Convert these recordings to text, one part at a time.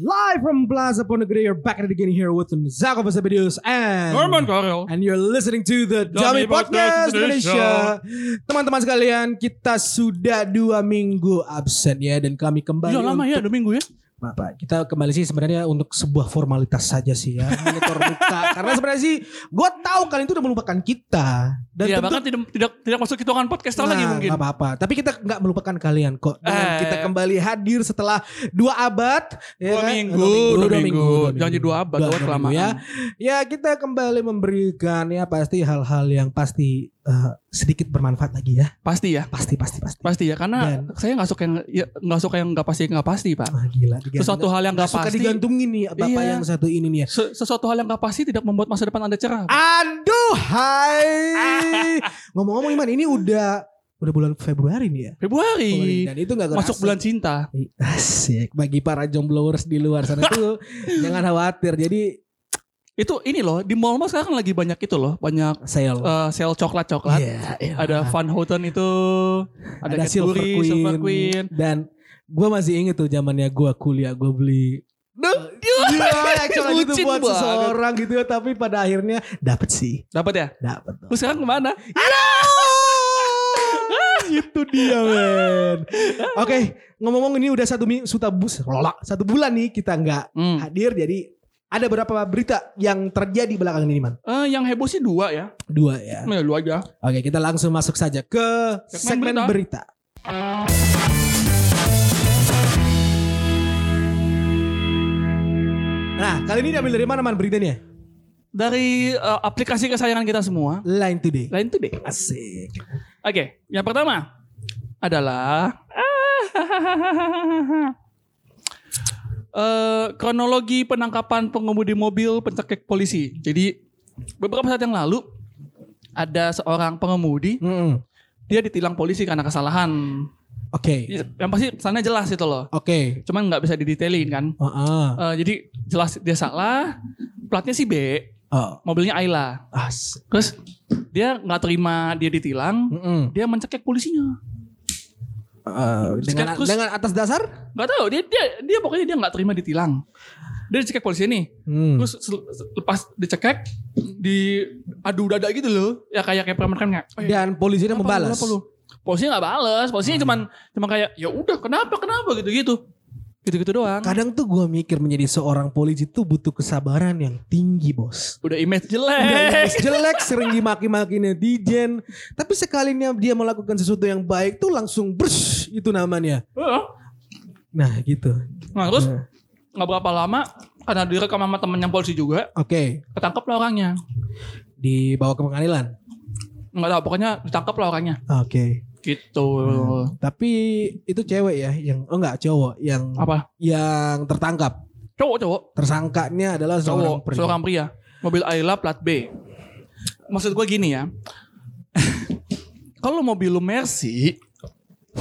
Welcome, Plaza Ponegre. You're back at it again here with Zako Basabedius and Norman Karel. And you're listening to the Dummy Dummy, Podcast Podcast, Indonesia. Teman-teman sekalian, kita sudah dua minggu absen ya dan kami kembali. Udah lama ya, untuk- dua minggu ya. Bapak, kita kembali sih sebenarnya untuk sebuah formalitas saja sih ya. Monitor muka. Karena sebenarnya sih, gue tahu kalian itu udah melupakan kita. Dan Iya, tentu bahkan tidak tidak tidak masuk hitungan podcast lagi Nah, mungkin. nggak apa-apa. Tapi kita nggak melupakan kalian kok. Dengan Eh. kita kembali hadir setelah dua abad. ya Dua kan? minggu, Dua minggu, dua dua minggu. minggu, dua Jangan minggu. jadi dua abad, Dua- dua dua minggu kelamaan. ya. Ya kita kembali memberikan ya pasti hal-hal yang pasti eh, sedikit bermanfaat lagi ya. Pasti ya, Pasti, pasti, pasti. pasti ya. Karena Dan- saya nggak suka yang ya, nggak suka yang nggak pasti nggak pasti pak. Wah, Ah, gila. digantung- Sesuatu hal yang nggak Suka pasti, digantungin nih bapak Iya. yang satu ini nih ya. se- sesuatu hal yang nggak pasti tidak membuat masa depan anda cerah. Ah. Pak. Aduh, hai. Ngomong-ngomong Iman, ini udah udah bulan Februari nih ya. Februari Dan itu gak Iya. masuk bulan cinta. Asik. Bagi para jomblowers di luar sana tuh jangan khawatir. Jadi Itu ini loh di mall mall sekarang lagi banyak itu loh, banyak sale. eh, sale coklat coklat. Iya, iya. Ada Van Houten itu, ada, ada Silver Cadbury, Queen, Silver Queen. dan gue masih inget tuh zamannya gue kuliah gue beli Duh, Iya, actually itu Bucin buat banget. seseorang gitu ya, tapi pada akhirnya dapat sih, Dapat ya? dapat. Lu sekarang kemana? itu dia men. Oke, ngomong-ngomong ini udah satu minggu, suta bus, lolak, satu bulan nih kita nggak Hmm. hadir, jadi ada beberapa berita yang terjadi belakangan ini man. Eh, yang heboh sih dua ya. Dua ya. Ya, lu aja. Oke, kita langsung masuk saja ke segmen, Segmen berita. Nah, kali ini diambil dari mana man beritanya? Dari eh, aplikasi kesayangan kita semua, Line Today. lain tuh deh. Oke, Asik. yang pertama adalah Eh, kronologi penangkapan pengemudi mobil pencekik polisi. Jadi beberapa saat yang lalu ada seorang pengemudi Mm-mm. dia ditilang polisi karena kesalahan. Oke. Iya, Yang pasti sana jelas itu loh. Oke. Uh-uh. Cuman nggak bisa didetailin kan. Heeh. Eh, jadi jelas dia salah, platnya si B, Oh, mobilnya Ayla. asik. Terus dia nggak terima dia ditilang, Mm-mm. dia mencekik polisinya. Eh, dengan, Terus- dengan atas dasar? Nggak tahu dia dia dia pokoknya dia nggak terima ditilang. Dia dicekek polisi nih. Hmm. Terus sel- lepas dicekek di adu dada gitu loh. Ya kayak kayak preman kan nggak. "Eh, Dan kenapa polisinya lu, membalas. Hmm. kenapa lu?" Polisinya nggak balas, polisinya cuman cuman kayak ya udah kenapa kenapa gitu gitu. Gitu-gitu doang. Kadang tuh gue mikir menjadi seorang polisi tuh butuh kesabaran yang tinggi, bos. Udah image Udah jelek. nyaris jelek sering dimaki-maki netizen tapi sekalinya dia melakukan sesuatu yang baik tuh langsung brus itu namanya Heeh. nah gitu Nah, terus Nah, nggak berapa lama karena direkam sama temennya polisi juga, oke ketangkep lah orangnya. dibawa ke pengadilan Nggak tahu pokoknya ditangkap lah orangnya. oke Gitu. Hmm. tapi itu cewek ya yang oh enggak cowok yang Apa? yang tertangkap Cowok, cowok, tersangkanya adalah cowok, seorang pria seorang pria. Mobil Ayla plat B. Maksud gue gini ya. kalau mobil lu Mercy,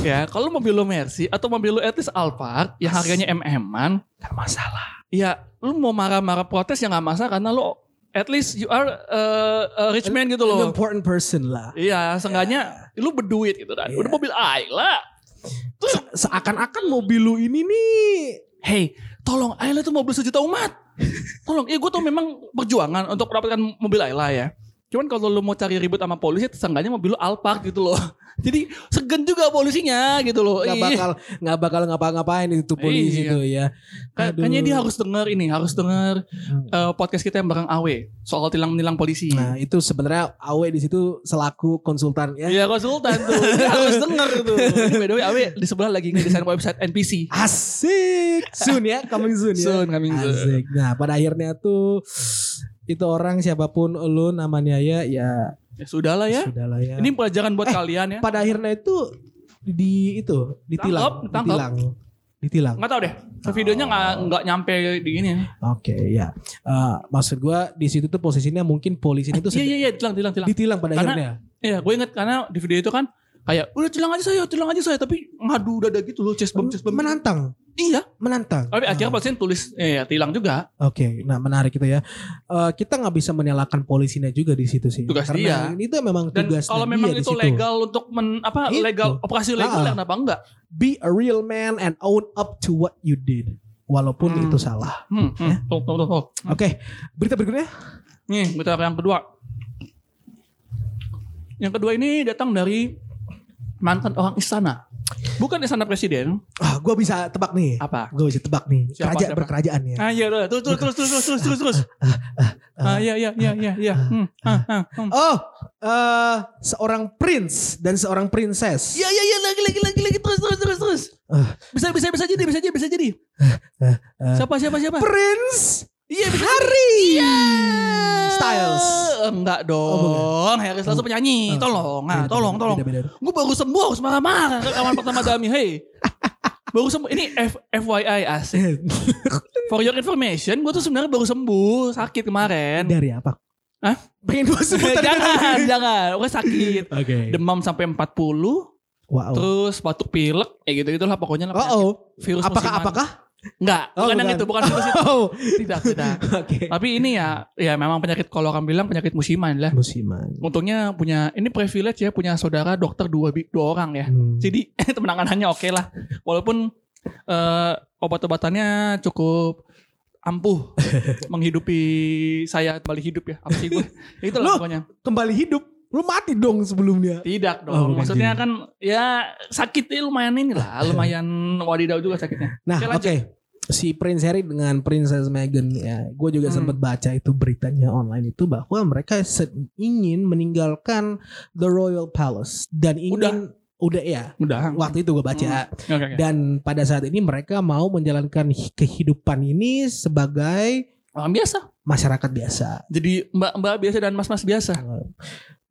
ya, kalau mobil lu Mercy atau mobil lu Etis Alphard yang harganya MM-an, Nggak masalah ya lu mau marah-marah protes ya nggak masalah karna lu at least you are uh, a rich man gitu An loh. important person lah Iya, seenggaknya lu berduit gitu kan. Udah mobil Ayla. Se- seakan-akan mobil lu ini nih Hey, tolong Ayla tuh mobil sejuta umat. tolong, iya gue tuh memang perjuangan untuk mendapatkan mobil Ayla ya. Cuman kalau lu mau cari ribut sama polisi, seenggaknya mobil lu Alphard gitu loh. Jadi segen juga polisinya gitu loh. nggak Iya. bakal nggak bakal ngapa-ngapain itu polisi Iya. tuh ya Kay- Aduh. Kayaknya dia harus denger ini, harus denger eh, podcast kita yang bareng Awe soal tilang-nilang polisi. Nah itu sebenarnya Awe di situ selaku konsultan ya. Iya konsultan tuh, Dia harus denger tuh. Ini by the way, Awe di sebelah lagi ngedesain website NPC. Asik soon ya coming soon ya. Soon, coming soon. Asik. Nah pada akhirnya tuh itu orang siapapun lu namanya ya ya, Ya sudah lah ya. sudahlah ya. Ini pelajaran buat Eh, kalian ya. pada akhirnya itu di itu ditilang, Tangkap, tangkap. ditilang, ditilang. Nggak tahu deh, videonya Oh. nggak nggak nyampe di ini. Oke ya. Eh, maksud gua di situ tuh posisinya mungkin polisi Iya itu sedang iya iya, tilang tilang tilang. ditilang pada Karena- akhirnya. Iya, gue inget karena di video itu kan kayak udah tilang aja saya, tilang aja saya, tapi ngadu dada gitu loh, chest bump, chest bump. Menantang, Iya, menantang. tapi Ah. akhirnya pasien tulis eh, ya, tilang juga. Oke, nah menarik itu ya. Eh kita nggak bisa menyalahkan polisinya juga di situ sih. Tugas Karena ini tuh memang Dan tugas kalau memang itu legal untuk men, apa Itu. legal operasi legal ya Gitu. Ah. kenapa enggak? Be a real man and own up to what you did. walaupun Hmm. itu salah. Hmm, hmm. Tuh, tuh, tuh, tuh. Oke, berita berikutnya. Nih, berita yang kedua. Yang kedua ini datang dari mantan orang istana. Bukan istana presiden. Ah, gua bisa tebak nih. Apa? Gua bisa tebak nih. Siapa, Kerajaan siapa? berkerajaan ya. Ah, iya, udah. terus, terus, terus, terus, terus, terus, terus. Ah, iya, iya, iya, iya, iya. Hmm, ah, ah, hmm. Oh, eh seorang prince dan seorang princess. Iya, iya, iya, lagi, lagi, lagi, lagi, terus, terus, terus, terus. Ah. Bisa, bisa, bisa jadi, bisa jadi, bisa jadi. ah. Siapa, siapa, siapa? Prince Iya, bisa. Harry Styles. Enggak Oh, dong, Harry Styles tuh penyanyi. Oh. Tolong, ah, Beda, tolong, beda, tolong. beda, beda. Gue baru sembuh harus marah-marah ke kawan pertama Dami. Hey. Baru sembuh. Ini F- FYI asik. For your information, gue tuh sebenarnya baru sembuh sakit kemarin. Dari apa? Hah? Pengen gue sebut tadi. jangan, jangan. Gue sakit. Oke. Iya. Demam sampai 40, Wow. terus batuk pilek, ya gitu gitulah pokoknya lah. Oh, oh. ya? Virus Apakah musiman. apakah? Enggak, Oh, bukan yang bukan. itu, bukan virus itu. Oh. Tidak, tidak. Oke. Tapi ini ya, ya memang penyakit kalau orang bilang penyakit musiman lah. Musiman. Untungnya punya, ini privilege ya, punya saudara dokter dua, bi- dua orang ya. Hmm. Jadi penanganannya oke lah. Walaupun eh, obat-obatannya cukup ampuh menghidupi saya kembali hidup ya. Apa sih gue? Ya Itulah Loh. pokoknya. Kembali hidup. Lu mati dong sebelumnya. Tidak dong. Oh, bukan Maksudnya tidak. kan ya sakitnya lumayan ini lah. Lumayan wadidau juga sakitnya. Nah, Oke, oke. lanjut. Si Prince Harry dengan Princess Meghan ya, gue juga Hmm. sempat baca itu beritanya online itu bahwa mereka se- ingin meninggalkan the royal palace dan ingin udah, Hmm. ya. Udah. Waktu itu gue baca Oke, oke. dan pada saat ini mereka mau menjalankan hi- kehidupan ini sebagai Orang ah, biasa. masyarakat biasa. Jadi mbak-mbak biasa dan mas-mas biasa.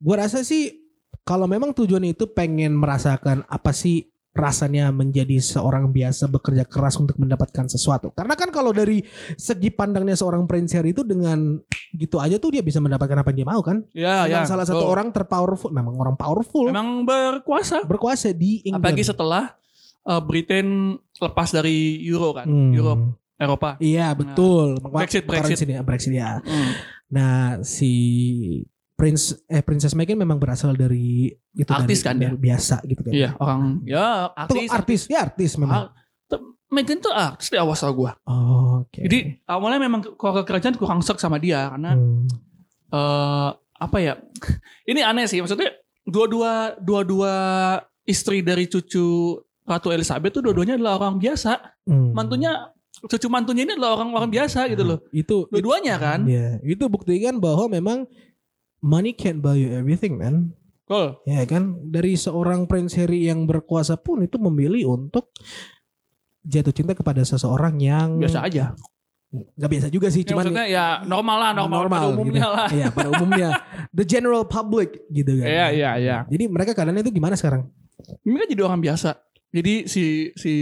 Gue rasa sih kalau memang tujuan itu pengen merasakan apa sih rasanya menjadi seorang biasa bekerja keras untuk mendapatkan sesuatu. Karena kan kalau dari segi pandangnya seorang Prince Harry itu dengan gitu aja tuh dia bisa mendapatkan apa yang dia mau kan. Ya, ya. Dengan salah satu Betul. orang terpowerful, memang orang powerful Memang berkuasa. berkuasa di England. Apalagi setelah eh, Britain lepas dari Euro kan. Hmm. Euro, Eropa. Iya betul. Nah, Brexit, Brexit. Currency dia, Brexit ya. Hmm. Nah si Prince eh Princess Meghan memang berasal dari itu Artis dari- kan dia? dari biasa gitu kan. Iya orang ya Tuh, artis. Ah, artis, dia artis Ar- memang. te- Megan tuh ah, artis di awal gue. Oh, Oke. Jadi awalnya memang keluarga kerajaan kurang serg sama dia karena Hmm. eh, apa ya? Ini aneh sih maksudnya dua-dua dua-dua istri dari cucu Ratu Elizabeth tuh dua-duanya adalah orang biasa. Hmm. Mantunya cucu mantunya ini adalah orang-orang biasa gitu loh. itu itu- Dua-duanya kan. Iya, itu buktikan bahwa memang money can't buy you everything, man. Cool. Ya kan? Dari seorang Prince Harry yang berkuasa pun itu memilih untuk jatuh cinta kepada seseorang yang Biasa aja. Gak biasa juga sih, Ya, cuman maksudnya ya normal lah, normal, pada umumnya gitu. lah. Iya, pada umumnya the general public gitu kan. Iya, iya, iya. Jadi mereka keadaannya itu gimana sekarang? Mereka jadi orang biasa. Jadi si si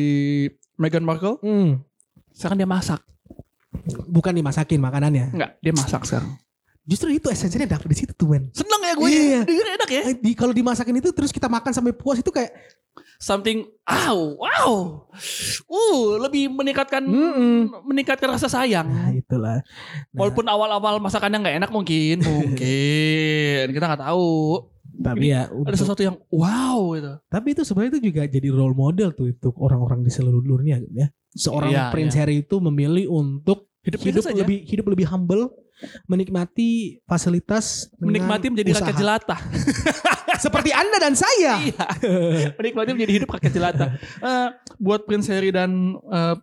Meghan Markle Hmm, sekarang dia masak. bukan dimasakin makanannya. Enggak, dia masak sekarang. Justru itu esensinya dapat di situ tuh, men. Seneng ya gue. Iya. Dengar enak ya. Eh, di- kalau dimasakin itu terus kita makan sampai puas itu kayak Something wow, wow. Uh, lebih meningkatkan Mm-mm. Hmm. meningkatkan rasa sayang. Nah, itulah. Walaupun awal-awal masakannya nggak enak mungkin, mungkin kita nggak tahu. Tapi ya, Iya, Ada untuk- sesuatu yang wow gitu. tapi itu sebenarnya itu juga jadi role model tuh untuk orang-orang di seluruh dunia gitu ya. Seorang Iya, Prince Harry itu memilih untuk Hidup, hidup saja. lebih hidup lebih humble, menikmati fasilitas, dengan menikmati menjadi usaha. rakyat jelata. Seperti Anda dan saya. Iya. menikmati menjadi hidup rakyat jelata. Eh, buat Prince Harry dan eh,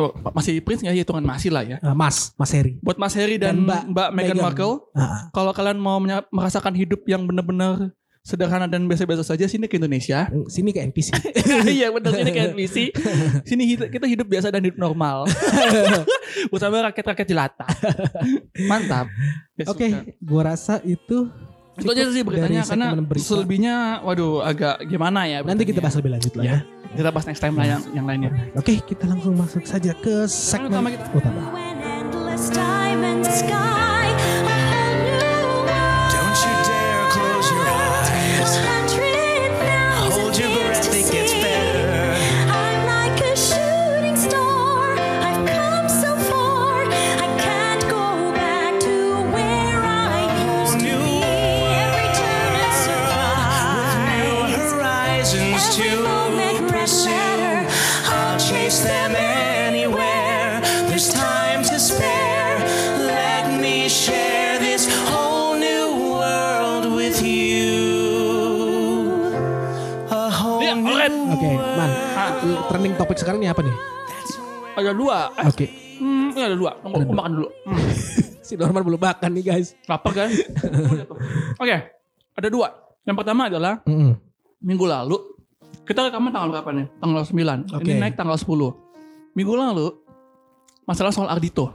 oh, masih Prince nggak ya hitungan masih lah ya. Eh, Mas, Mas Harry. Buat Mas Harry dan, Dan Mbak Mbak, Meghan Meghan. Markle, Ah, kalau kalian mau menya- merasakan hidup yang benar-benar sederhana dan biasa-biasa saja sini ke Indonesia. sini ke NPC. Iya benar sini ke NPC. Sini hid- kita hidup biasa dan hidup normal. Bersama rakyat-rakyat jelata. Mantap. Ya, Oke, sudah. gua rasa itu Itu aja sih beritanya dari karena segmen berita. selebihnya waduh agak gimana ya. nanti beritanya. kita bahas lebih lanjut lah ya. Ya. Kita bahas next time lah yang, yang lainnya. Oke, kita langsung masuk saja ke segmen utama kita. utama. When endless time and sky, a whole new world. Don't you dare close your eyes. Hundred thousand Hold your things breath, to it gets see. better. I'm like a shooting star. I've come so far. I can't go back to where I used to be. Every turn a surprise. New horizons Every moment red to pursue. letter. I'll chase them anywhere. Oh, Iya, alright. Oke, man. Ah. Trending topik sekarang ini apa nih? Ada dua. Eh, Oke. Hmm, ini ada dua. Nunggu aku makan dulu. Hmm, Si Norman belum makan nih, guys. lapar kan? Oke, ada dua. Yang pertama adalah Mm-mm. minggu lalu kita rekaman tanggal berapa nih? Tanggal 9. Oke. Ini naik tanggal 10. Minggu lalu masalah soal Ardito.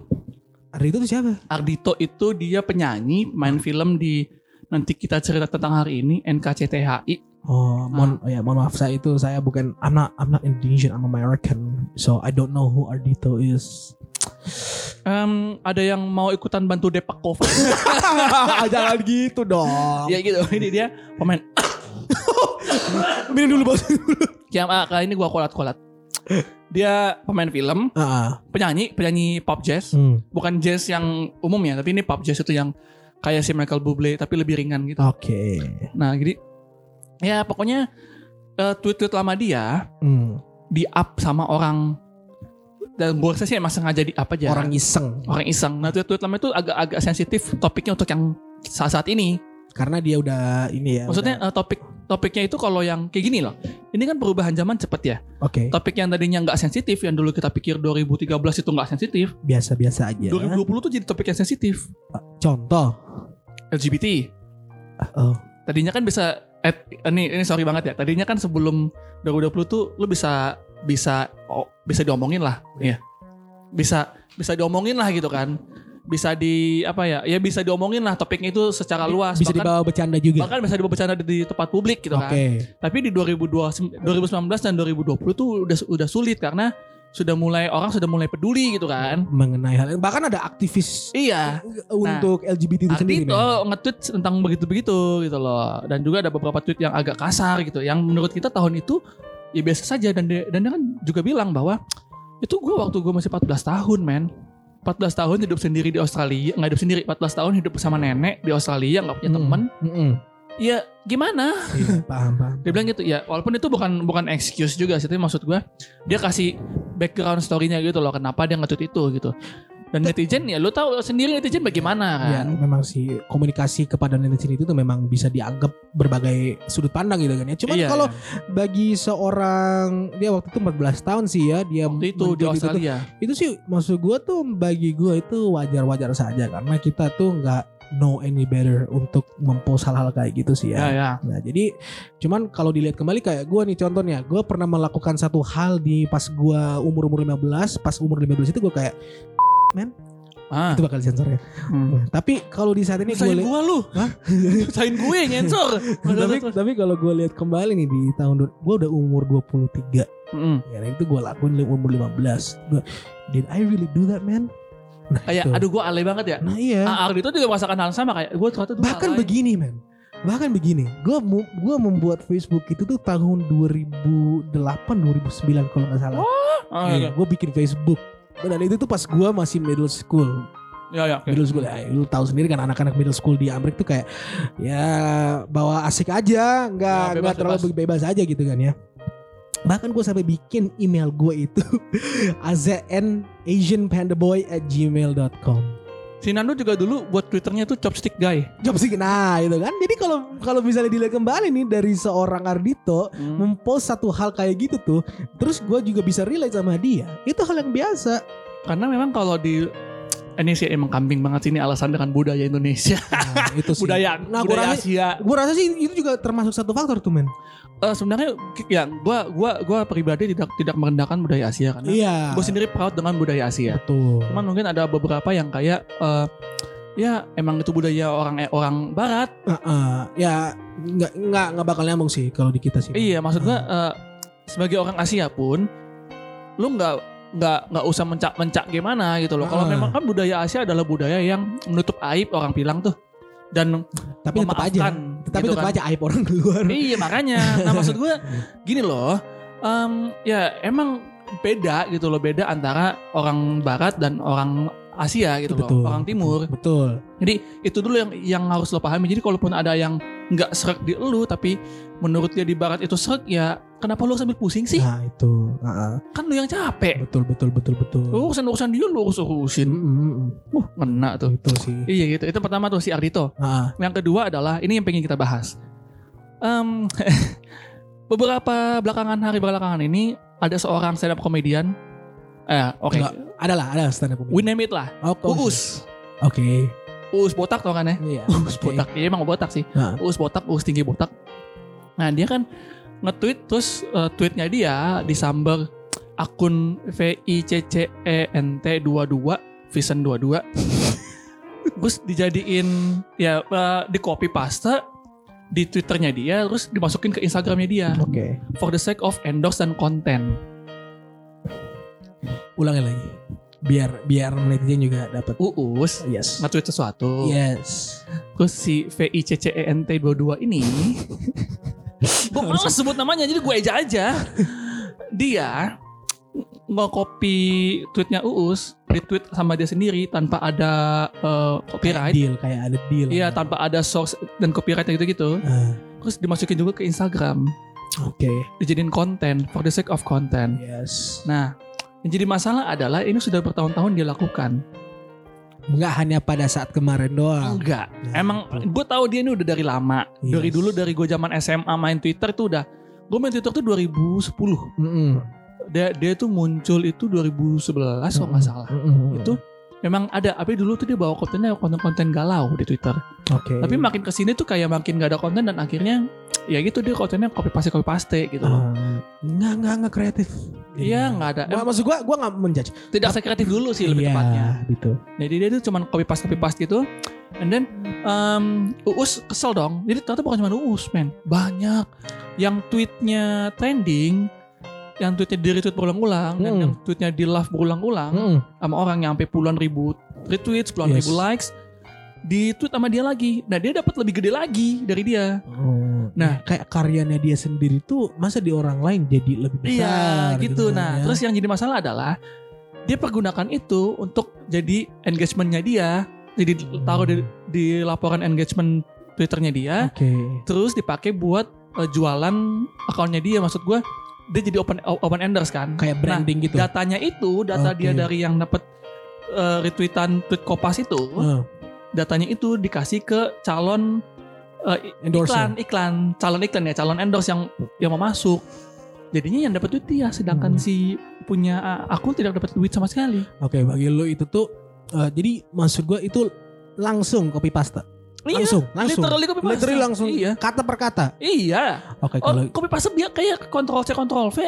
Hari itu tuh siapa? Ardito itu dia penyanyi, main film di nanti kita cerita tentang hari ini NKCTHI. Oh, mohon oh ya, mohon maaf saya itu saya bukan I'm not I'm not Indonesian, I'm American. So I don't know who Ardito is. Em, ada yang mau ikutan bantu Depak cover? Jangan gitu dong. ya gitu. Ini dia pemain. Minum dulu bos. Yang ah, kali ini gua kolat-kolat. Dia pemain film, Heeh. penyanyi, penyanyi pop jazz. Hmm. Bukan jazz yang umum ya, tapi ini pop jazz itu yang kayak si Michael Bublé tapi lebih ringan Ah. gitu. Oke. Nah, jadi ya pokoknya eh, tweet-tweet lama dia Hmm. di-up sama orang dan gue rasa sih emang sengaja di-up aja. Orang iseng orang iseng. Nah, tweet-tweet lama itu agak-agak sensitif topiknya untuk yang saat saat ini. karena dia udah ini ya. Maksudnya udah- eh, topik topiknya itu kalau yang kayak gini loh. Ini kan perubahan zaman cepet ya. oke, Topik yang tadinya nggak sensitif yang dulu kita pikir 2013 itu nggak sensitif, biasa-biasa aja. 2020 tuh jadi topik yang sensitif. Contoh. LGBT. Oh. Tadinya kan bisa eh, ini ini sorry banget ya. Tadinya kan sebelum 2020 tuh lu bisa bisa oh, bisa diomongin lah, ya. Iya. Bisa bisa diomongin lah gitu kan. Bisa di apa ya? Ya bisa diomongin lah topiknya itu secara luas Iya, Bisa bahkan- dibawa bercanda juga. bahkan bisa dibawa bercanda di, di tempat publik gitu Oke. kan. Tapi di 2020, 2019 dan 2020 tuh udah udah sulit karena sudah mulai orang sudah mulai peduli gitu kan. Mengenai hal ini bahkan ada aktivis Iya. untuk LGBT itu sendiri. Ardito men. nge-tweet tentang begitu-begitu gitu loh. Dan juga ada beberapa tweet yang agak kasar gitu yang menurut kita tahun itu ya biasa saja dan dia, dan dia kan juga bilang bahwa itu gue waktu gue masih 14 tahun, men. 14 tahun hidup sendiri di Australia, nggak hidup sendiri, 14 tahun hidup sama nenek di Australia, nggak punya Mm, teman. mm-mm. Ya gimana? Iya, paham paham. dia bilang gitu ya walaupun itu bukan bukan excuse juga sih tapi maksud gue dia kasih background story-nya gitu loh kenapa dia nge-tweet itu gitu dan netizen ya lu tahu sendiri netizen bagaimana Ya, kan memang sih komunikasi kepada netizen itu tuh memang bisa dianggap berbagai sudut pandang gitu kan ya. Cuman Iya, kalau bagi seorang dia waktu itu 14 tahun sih ya dia waktu itu di menjadi tuh- Australia itu sih maksud gua tuh bagi gua itu wajar-wajar saja karena kita tuh nggak know any better untuk mempost hal-hal kayak gitu sih ya ya. ya Nah jadi cuman kalau dilihat kembali kayak gua nih contohnya gua pernah melakukan satu hal di pas gua umur-umur 15 pas umur 15 itu gua kayak ah itu bakal sensor ya. hmm. Tapi kalau di saat ini gue Usahin gue lu Hah? Usahin gue nyensor tapi tapi kalau gue lihat kembali nih di tahun du- gua udah umur 23 Mm-mm. ya dan itu gue lakuin di umur 15 Gua, did I really do that man nah kayak itu. aduh gue alay banget ya nah iya Ah, Ardito juga merasakan hal sama kayak gue ternyata dulu bahkan alay. begini man bahkan begini gue gua membuat Facebook itu tuh tahun 2008 2009 kalau nggak salah Ah, ya, Iya, gue bikin Facebook dan itu tuh pas gue masih middle school ya, ya, oke. middle school ya lu tahu sendiri kan anak-anak middle school di Amrik tuh kayak ya bawa asik aja nggak Ya, bebas, nggak terlalu bebas aja gitu kan ya bahkan gue sampai bikin email gue itu azn asian at gmail.com si Nando juga dulu buat twitternya tuh chopstick guy job sih nah itu kan jadi kalau kalau misalnya dilihat kembali nih dari seorang Ardito Hmm. mempost satu hal kayak gitu tuh terus gue juga bisa relate sama dia itu hal yang biasa Karena memang kalau di ini sih emang kambing banget sih ini alasan dengan budaya Indonesia, nah, itu sih budaya Nah, budaya kurangnya- Asia. gue rasa sih itu juga termasuk satu faktor tuh men Eh, sebenarnya ya gua gua gua pribadi tidak tidak merendahkan budaya Asia karena iya gua sendiri proud dengan budaya Asia. betul Cuman mungkin ada beberapa yang kayak eh, ya emang itu budaya orang eh, orang barat. Heeh, ya nggak nggak nggak bakal nyambung sih kalau di kita sih. Iya, maksud gua eh, sebagai orang Asia pun lu nggak nggak nggak usah mencak mencak gimana gitu loh. Kalau Ah. memang kan budaya Asia adalah budaya yang menutup aib orang bilang tuh dan Tapi tetap aja, memaafkan, tapi gitu tetap kan. aja aib orang keluar. Iya makanya. Nah maksud gue gini loh. em, ya emang beda gitu loh. Beda antara orang barat dan orang Asia gitu loh. Orang timur. Betul. Jadi itu dulu yang yang harus lo pahami. Jadi kalaupun ada yang nggak serak di elu tapi menurut dia di barat itu serak ya kenapa lo sambil pusing sih? Nah itu, Heeh, Kan lo yang capek. betul betul betul betul. Urusan urusan dia lo urus urusin. Mm, mm, mm. Uh ngena tuh. Betul sih. Iya gitu. Itu pertama tuh si Ardito. Heeh. Yang kedua adalah ini yang pengen kita bahas. Em, beberapa belakangan hari belakangan ini ada seorang stand up comedian eh oke Enggak, ada lah, ada stand up comedy. we name it lah Oh, kau- Uus Oke. Uus botak tau kan ya Iya. Uus Oke. botak Iya emang botak sih Nah. Uus botak Uus tinggi botak nah dia kan nge-tweet terus eh, tweetnya dia disambar akun V I C C E N T 22 Vision 22 terus dijadiin ya eh, di copy paste di twitternya dia terus dimasukin ke instagramnya dia Oke. for the sake of endorse dan konten Ulangin lagi. Biar biar netizen juga dapat. Uus Yes. nge-tweet Iya. sesuatu Yes. Terus si E VICCENT22 ini Gue males sebut namanya Jadi gue aja aja Dia Nge-copy tweetnya Uus Retweet sama dia sendiri Tanpa ada eh, Kayak copyright deal kayak ada deal. Iya tanpa ada source dan copyright gitu-gitu Ah, Terus dimasukin juga ke Instagram Oke. Dijadiin konten For the sake of content Yes. Nah yang jadi masalah adalah ini sudah bertahun-tahun dia lakukan. Enggak hanya pada saat kemarin doang. Enggak, Nah, emang gue tahu dia ini udah dari lama. Dari Yes. dulu dari gue zaman SMA main Twitter tuh udah gue main Twitter tuh 2010. Mm-mm. Dia dia tuh muncul itu 2011 kalau nggak salah. Mm-mm. Itu memang ada, tapi dulu tuh dia bawa kontennya konten-konten galau di Twitter. Oke. Tapi makin kesini tuh kayak makin gak ada konten dan akhirnya ya gitu dia kontennya copy paste copy paste gitu loh. Ah, enggak enggak enggak kreatif. Iya nggak ada. Gua, maksud gua gua enggak menjudge. Tidak saya kreatif dulu sih lebih Iya, tepatnya. gitu. Jadi dia tuh cuman copy paste copy paste gitu. And then um, Uus kesel dong. Jadi ternyata bukan cuma Uus men. Banyak yang tweetnya trending, yang tweetnya di retweet berulang-ulang, dan Hmm. yang tweetnya di love berulang-ulang Mm-mm. sama orang yang sampai puluhan ribu retweets, puluhan Yes. ribu likes di tweet sama dia lagi. Nah dia dapat lebih gede lagi dari dia. Oh, Nah. kayak karyanya dia sendiri tuh masa di orang lain jadi lebih Iya besar. gitu. Nah ya. terus yang jadi masalah adalah dia pergunakan itu untuk jadi engagementnya dia. Jadi taruh di, di laporan engagement twitternya dia. oke. Terus dipakai buat eh, jualan akunnya dia. Maksud gue dia jadi open open enders kan. Kayak branding gitu. Datanya itu data dia Oke. dari yang dapat retweetan tweet kopas itu. Heeh. Datanya itu dikasih ke calon eh, i- Endorser. iklan iklan calon iklan ya calon endorse yang yang mau masuk. Jadinya yang dapat duit dia, sedangkan Hmm. si punya eh, akun tidak dapat duit sama sekali. Oke, bagi lu itu tuh eh, jadi maksud gua itu langsung copy paste. Langsung, Iya, langsung. Iya, literally copy paste. Literally langsung Iya. kata per kata. Iya. Oke, Oh, kalau copy paste dia kayak kontrol C kontrol V.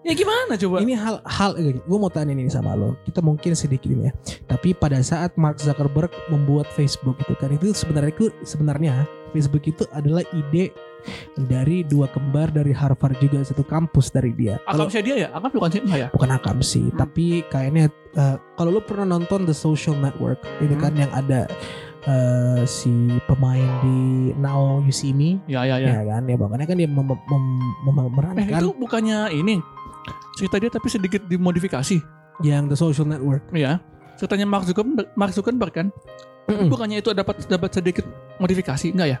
ya gimana coba? ini hal hal gue mau tanya ini sama lo. Kita mungkin sedikit ini ya. Tapi pada saat Mark Zuckerberg membuat Facebook itu kan itu sebenarnya itu sebenarnya Facebook itu adalah ide dari dua kembar dari Harvard juga satu kampus dari dia. Akam Kalau- saya dia ya? Akam bukan saya enggak ya? bukan akam sih Hmm. tapi kayaknya eh, kalau lu pernah nonton The Social Network Hmm. itu kan yang ada eh, si pemain di Now You See Me Ya ya ya. ya, kan ya makanya kan dia mem- mem- mem- Eh memerankan itu bukannya ini cerita dia tapi sedikit dimodifikasi yang The Social Network ya. Ceritanya Mark Zuckerberg, Mark Zuckerberg kan? Mm-mm. Bukannya itu dapat dapat sedikit modifikasi enggak ya?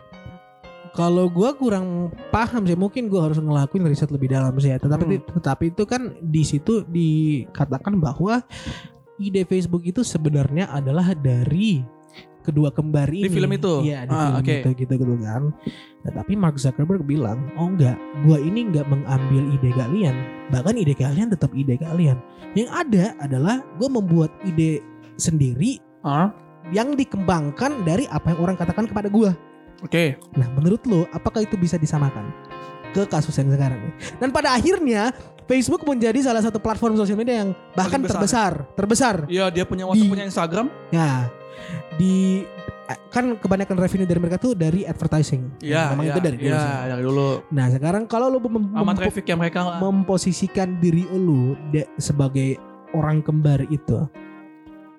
kalau gua kurang paham sih mungkin gua harus ngelakuin riset lebih dalam sih ya tetapi Hmm. tetapi itu kan di situ dikatakan bahwa ide Facebook itu sebenarnya adalah dari kedua kembar ini Di film itu? iya di Ah, film oke. itu gitu gitu kan nah, tapi Mark Zuckerberg bilang oh enggak gua ini enggak mengambil ide kalian bahkan ide kalian tetap ide kalian yang ada adalah gua membuat ide sendiri Ah, yang dikembangkan dari apa yang orang katakan kepada gua oke. Nah, menurut lo, apakah itu bisa disamakan ke kasus yang sekarang ini? Dan pada akhirnya, Facebook menjadi salah satu platform sosial media yang bahkan Paling terbesar, terbesar. Ya dia punya WhatsApp, Di- punya Instagram. Nah, di eh, kan kebanyakan revenue dari mereka tuh dari advertising. Ya, Memang ya, itu dari dulu ya, sih. dari dulu. Nah, sekarang kalau lo mem- Sama mem- traffic yang mereka lah. memposisikan diri lo de- sebagai orang kembar itu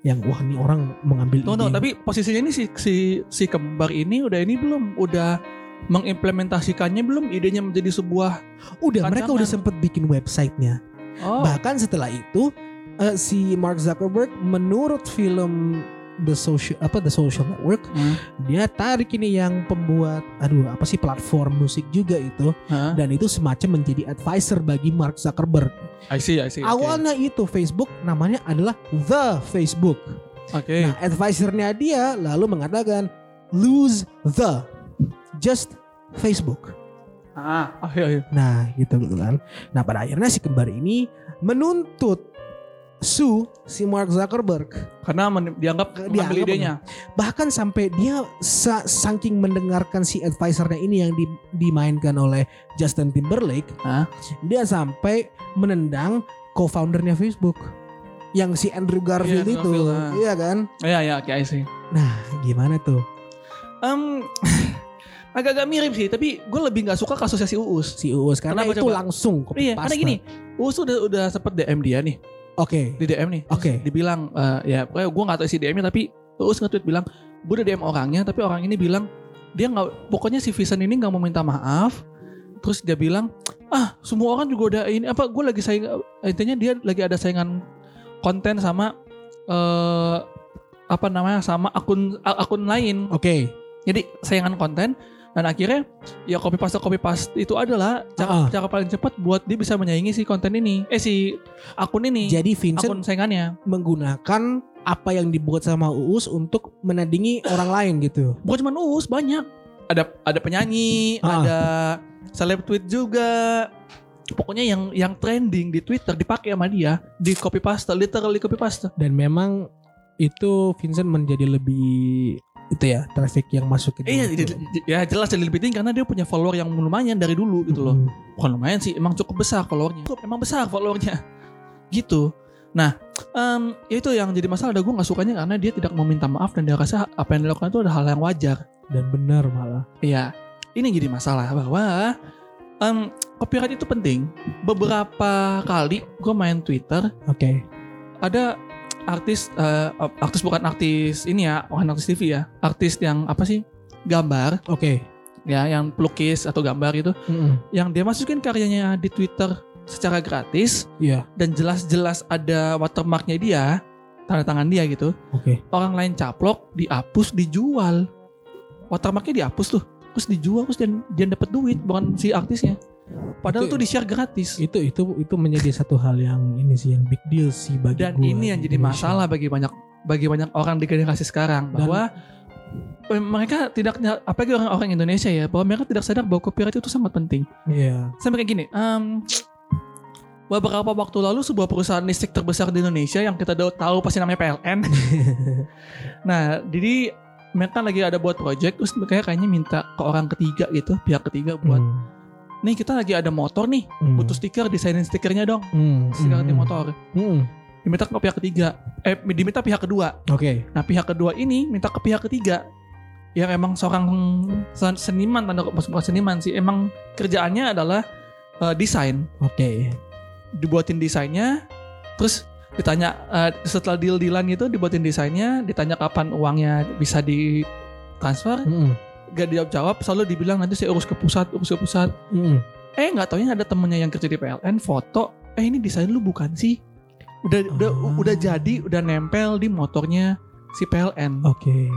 yang wah ini orang mengambil Tunggu, tunggu, ide. tapi posisinya ini si, si si kembar ini udah ini belum udah mengimplementasikannya belum idenya menjadi sebuah udah mereka pandangan. udah sempet bikin websitenya oh Bahkan setelah itu eh, si Mark Zuckerberg menurut film The Social apa The Social Network Hmm. dia tarik ini yang pembuat aduh apa sih platform musik juga itu Hah? dan itu semacam menjadi advisor bagi Mark Zuckerberg. I see I see oke. Awalnya itu Facebook namanya adalah The Facebook. oke Nah, advisornya dia lalu mengatakan lose the just Facebook. Ah, ah, iya, iya. Nah gitu gitu kan. Nah pada akhirnya si kembar ini menuntut Sue si Mark Zuckerberg Karena men- dianggap Dianggap mengambil mengambil. idenya. bahkan sampai dia sa- saking mendengarkan si advisernya ini yang di- dimainkan oleh Justin Timberlake, Hah? dia sampai menendang co-foundernya Facebook yang si Andrew Garfield Iya, Andrew itu, Garfield, ah. iya kan? Iya, iya, oke, I see. Nah, gimana tuh Em, agak-agak mirip sih, tapi gue lebih nggak suka kasusnya si Uus. si Uus karena Kenapa itu coba? langsung copy Iya, karena paste. gini, Uus tuh udah udah sempet DM dia nih, Oke, di DM nih. oke. Dibilang eh, ya pokoknya gue nggak tahu isi DM-nya tapi Uus nge-tweet bilang, gue udah DM orangnya tapi orang ini bilang dia nggak pokoknya si Vision ini nggak mau minta maaf. Terus dia bilang, "Ah, semua orang juga udah ini apa gue lagi saing eh, intinya dia lagi ada saingan konten sama eh apa namanya sama akun akun lain Oke. jadi sayangan konten dan akhirnya ya copy paste copy paste itu adalah Ah. cara cara paling cepat buat dia bisa menyaingi si konten ini eh si akun ini Jadi Vincent akun saingannya menggunakan apa yang dibuat sama Uus untuk menandingi orang lain gitu. bukan cuma us banyak ada ada penyanyi Ah. ada seleb tweet juga pokoknya yang yang trending di Twitter dipakai sama dia di copy paste literally copy paste Dan memang itu Vincent menjadi lebih itu ya traffic yang masuk ke iya dia gitu. jadi- ya jelas jadi lebih tinggi karena dia punya follower yang lumayan dari dulu gitu loh Mm-mm. bukan lumayan sih emang cukup besar followernya cukup emang besar followernya gitu nah em, ya itu yang jadi masalah ada gue nggak sukanya karena dia tidak mau minta maaf dan dia rasa apa yang dilakukan itu adalah hal yang wajar dan benar malah Iya ini yang jadi masalah bahwa em, copyright itu penting beberapa kali gue main twitter oke ada artis eh, artis bukan artis ini ya bukan artis tv ya artis yang apa sih gambar oke ya yang pelukis atau gambar itu Mm-mm. yang dia masukin karyanya di twitter secara gratis iya dan jelas-jelas ada watermarknya dia, tanda tangan dia gitu, oke orang lain caplok, dihapus, dijual. Watermarknya dihapus tuh, terus dijual, terus dia, dia dapat duit, bukan si artisnya. Padahal Itu- tuh di share gratis. itu itu itu menjadi satu hal yang ini sih yang big deal sih bagi Dan gua ini yang di jadi Indonesia. masalah bagi banyak bagi banyak orang di generasi sekarang Dan- bahwa eh, mereka tidak nyad- apalagi orang-orang Indonesia ya bahwa mereka tidak sadar bahwa copyright itu sangat penting. iya sampai kayak gini em, beberapa waktu lalu sebuah perusahaan listrik terbesar di Indonesia yang kita do- tahu pasti namanya PLN nah jadi mereka lagi ada buat project terus mereka kayaknya minta ke orang ketiga gitu pihak ketiga buat Mm. nih kita lagi ada motor nih Mm. butuh stiker desainin stikernya dong Mm. stiker Mm. di motor Mm. diminta ke pihak ketiga eh diminta pihak kedua oke nah pihak kedua ini minta ke pihak ketiga yang emang seorang sen- seniman tanda kutip, bukan seniman sih emang kerjaannya adalah eh, desain oke dibuatin desainnya terus ditanya eh, setelah deal dealan gitu dibuatin desainnya ditanya kapan uangnya bisa ditransfer Mm. gak dijawab jawab selalu dibilang nanti saya urus ke pusat urus ke pusat Mm. eh nggak taunya ada temennya yang kerja di PLN foto eh ini desain lu bukan sih udah udah Ah. udah jadi udah nempel di motornya si PLN oke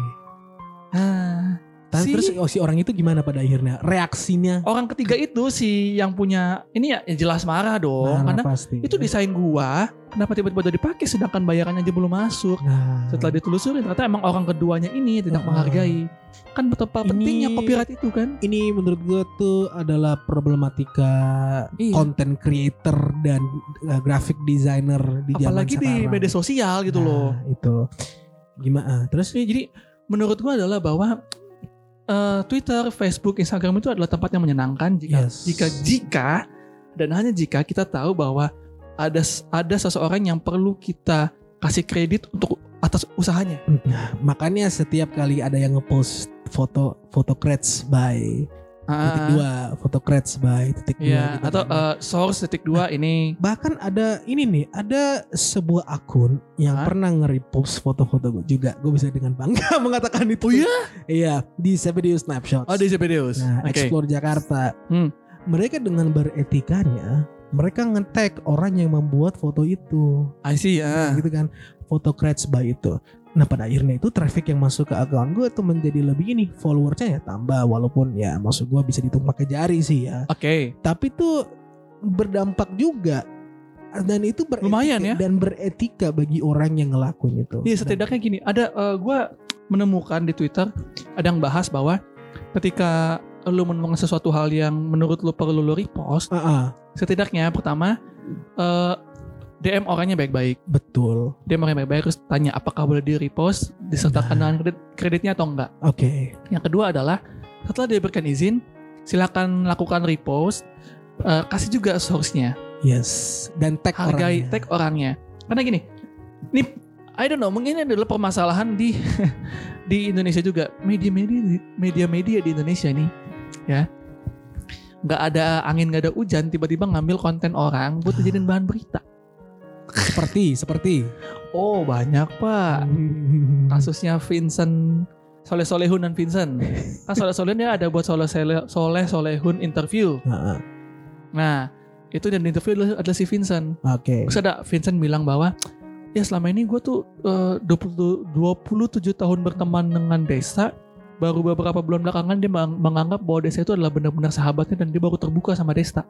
Nah, Dan si- terus oh, si orang itu gimana pada akhirnya reaksinya orang ketiga itu si yang punya ini ya, ya jelas marah dong Nah, karena pasti itu desain gua kenapa tiba-tiba udah dipakai sedangkan bayarannya aja belum masuk nah setelah ditelusuri ternyata emang orang keduanya ini tidak Ah. menghargai kan betapa Ini- pentingnya copyright itu kan ini menurut gue tuh adalah problematika Iya. konten creator dan uh, graphic designer di zaman apalagi di sekarang. media sosial gitu Nah, loh itu gimana terus Jadi- jadi menurut gua adalah bahwa eh, Twitter, Facebook, Instagram itu adalah tempat yang menyenangkan jika Yes. jika jika dan hanya jika kita tahu bahwa ada s- ada seseorang yang perlu kita kasih kredit untuk atas usahanya. nah, makanya setiap kali ada yang ngepost foto foto creds by titik Ah, dua foto creds by titik dua Iya, gitu atau kan. eh, source titik dua ini bahkan ada ini nih ada sebuah akun yang Hah? pernah nge-repost foto-foto gue juga gue bisa dengan bangga mengatakan itu Oh iya? iya di Sabadeo Snapshots ada videos. Nah, Oke. Explore Jakarta. Hmm. Mereka dengan beretikanya, mereka nge-tag orang yang membuat foto itu, I see ya. gitu kan? Foto creds by itu. Nah pada akhirnya itu traffic yang masuk ke account gue tuh menjadi lebih ini followersnya ya tambah walaupun ya maksud gue bisa dihitung pakai jari sih ya. Oke. Tapi tuh berdampak juga dan itu beretika, Lumayan ya. dan beretika bagi orang yang ngelakuin itu. Iya setidaknya gini, ada eh, gua menemukan di Twitter ada yang bahas bahwa ketika lu menemukan sesuatu hal yang menurut lu perlu lu repost, Heeh, setidaknya pertama eh, DM orangnya baik-baik. betul. DM orangnya baik-baik terus tanya apakah boleh di repost disertakan dengan kredit, kreditnya atau enggak. Oke. Yang kedua adalah setelah diberikan izin, silakan lakukan repost. eh, kasih juga source-nya. Yes. Dan tag hargai orangnya. tag orangnya. Karena gini, ini I don't know, mungkin ini adalah permasalahan di di Indonesia juga. Media-media media-media di Indonesia nih, ya. Nggak ada angin, nggak ada hujan, tiba-tiba ngambil konten orang buat dijadiin bahan berita. Seperti, seperti. Oh, banyak, Pak. Kasusnya Vincent Soleh Solehun dan Vincent. Kan Soleh Solehun dia ada buat Soleh Sele- Soleh Solehun interview. Heeh, Nah, itu dan interview adalah- adalah si Vincent. Oke. Terus ada Vincent bilang bahwa ya selama ini gue tuh eh, 20 27 tahun berteman dengan desa baru beberapa bulan belakangan dia meng- menganggap bahwa desa itu adalah benar-benar sahabatnya dan dia baru terbuka sama desa.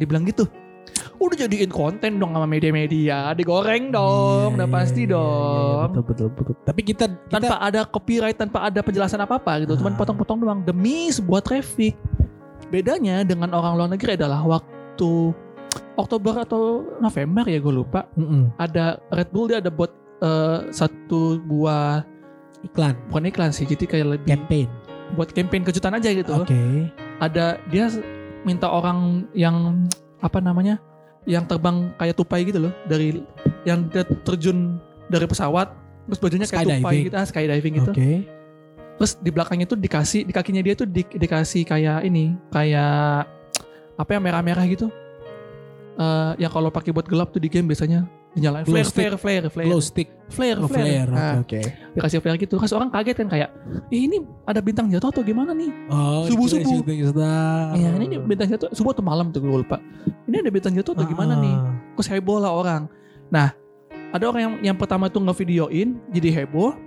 Dibilang gitu. Udah jadiin konten dong sama media-media, digoreng dong, Iya, udah iya, pasti iya, iya, iya, dong. Betul, betul, betul. Tapi kita, kita tanpa ada copyright, tanpa ada penjelasan apa-apa gitu, cuman Ah. potong-potong doang demi sebuah traffic. Bedanya dengan orang luar negeri adalah waktu Oktober atau November ya gue lupa Mm-mm. ada Red Bull dia ada buat eh, satu buah iklan, bukan iklan sih jadi kayak lebih campaign. buat campaign kejutan aja gitu Oke. ada dia s- minta orang yang apa namanya yang terbang kayak tupai gitu loh dari yang dia terjun dari pesawat terus bajunya kayak tupai Skydiving. gitu ah, skydiving gitu Oke. terus di belakangnya tuh dikasih di kakinya dia tuh di- dikasih kayak ini kayak apa yang merah-merah gitu Eh yang kalau pakai buat gelap tuh di game biasanya dinyalain Glow flare stick. flare flare flare Glow stick, flare oh, flare, flare. Nah, Oke. oke. dikasih flare gitu kan orang kaget kan kayak "Ih, ini ada bintang jatuh atau gimana nih Oh, Subuh-subuh. dikira syuting star. ya ini dia bintang jatuh subuh atau malam tuh gue lupa ini ada bintang jatuh atau gimana Ah, nih terus heboh lah orang nah ada orang yang yang pertama tuh ngevideoin jadi heboh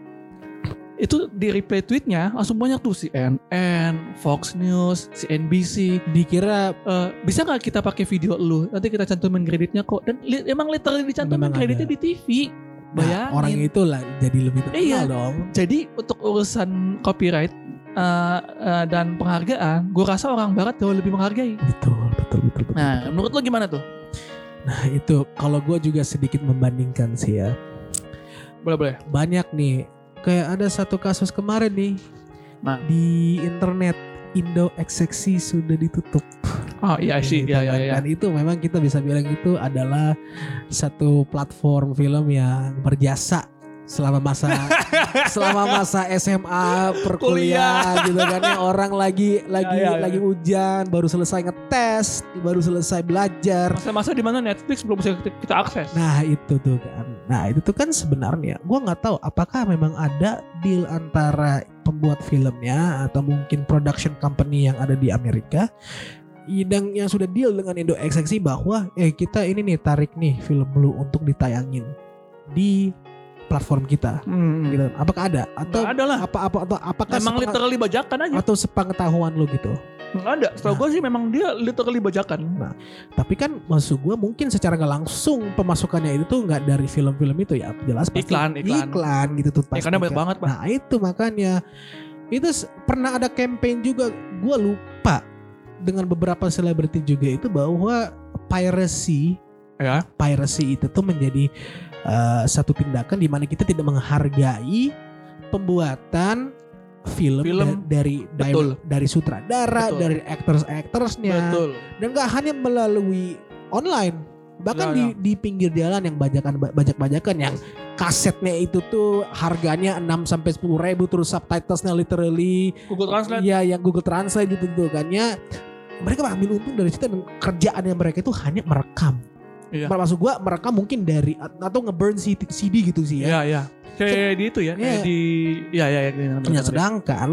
itu di replay tweetnya langsung banyak tuh CNN, Fox News, CNBC. Dikira Eh, bisa nggak kita pakai video lu? Nanti kita cantumin kreditnya kok. Dan li- emang literally dicantumin Memang kreditnya ada. di TV. nah, Bayangin. orang itu lah jadi lebih terkenal Iya. dong. Jadi untuk urusan copyright eh, eh, dan penghargaan, gue rasa orang Barat jauh lebih menghargai. Betul, betul, betul. betul. Nah, menurut lo gimana tuh? Nah, itu kalau gue juga sedikit membandingkan sih ya. Boleh boleh. Banyak nih, kayak ada satu kasus kemarin nih Nah. di internet Indo Exeksi sudah ditutup. Oh iya sih, Gitu iya iya kan. iya. Dan itu memang kita bisa bilang itu adalah satu platform film yang berjasa selama masa selama masa SMA perkuliahan gitu kan ya orang lagi lagi ya, ya. lagi hujan baru selesai ngetes baru selesai belajar Masa-masa di mana Netflix belum bisa kita- kita akses. Nah itu tuh kan. Nah itu tuh kan sebenarnya gua nggak tahu apakah memang ada deal antara pembuat filmnya atau mungkin production company yang ada di Amerika yang yang sudah deal dengan Indo Exeksi bahwa eh kita ini nih tarik nih film lu untuk ditayangin di platform kita. Hmm. Gitu. Apakah ada atau Nggak ada lah. apa apa atau apakah Emang sepengetahuan- literally bajakan aja. atau sepengetahuan lu gitu? Nggak ada. Setahu gue sih memang dia literally bajakan. Tapi kan maksud gue mungkin secara nggak langsung pemasukannya itu tuh nggak dari film-film itu ya jelas pasti Iklan, iklan. iklan gitu tuh pasti. Iklannya banyak kan. banget, Pak. Nah itu makanya itu s- pernah ada campaign juga gue lupa dengan beberapa selebriti juga itu bahwa piracy Ya. piracy itu tuh menjadi eh, satu tindakan di mana kita tidak menghargai pembuatan film, Film, da- dari dari, betul. dari sutradara Betul. dari actors actorsnya Betul. dan gak hanya melalui online bahkan di, di pinggir jalan yang bajakan bajak bajakan yang kasetnya itu tuh harganya 6 sampai sepuluh ribu terus subtitlesnya literally Google Translate. ya yang Google Translate gitu tuh kan ya mereka ambil untung dari situ dan kerjaannya mereka itu hanya merekam Iya. maksud gua merekam mungkin dari atau ngeburn CD, CD gitu sih Iya ya iya. Kayak di itu ya, kayak Iya. di ya ya ya. Ya sedangkan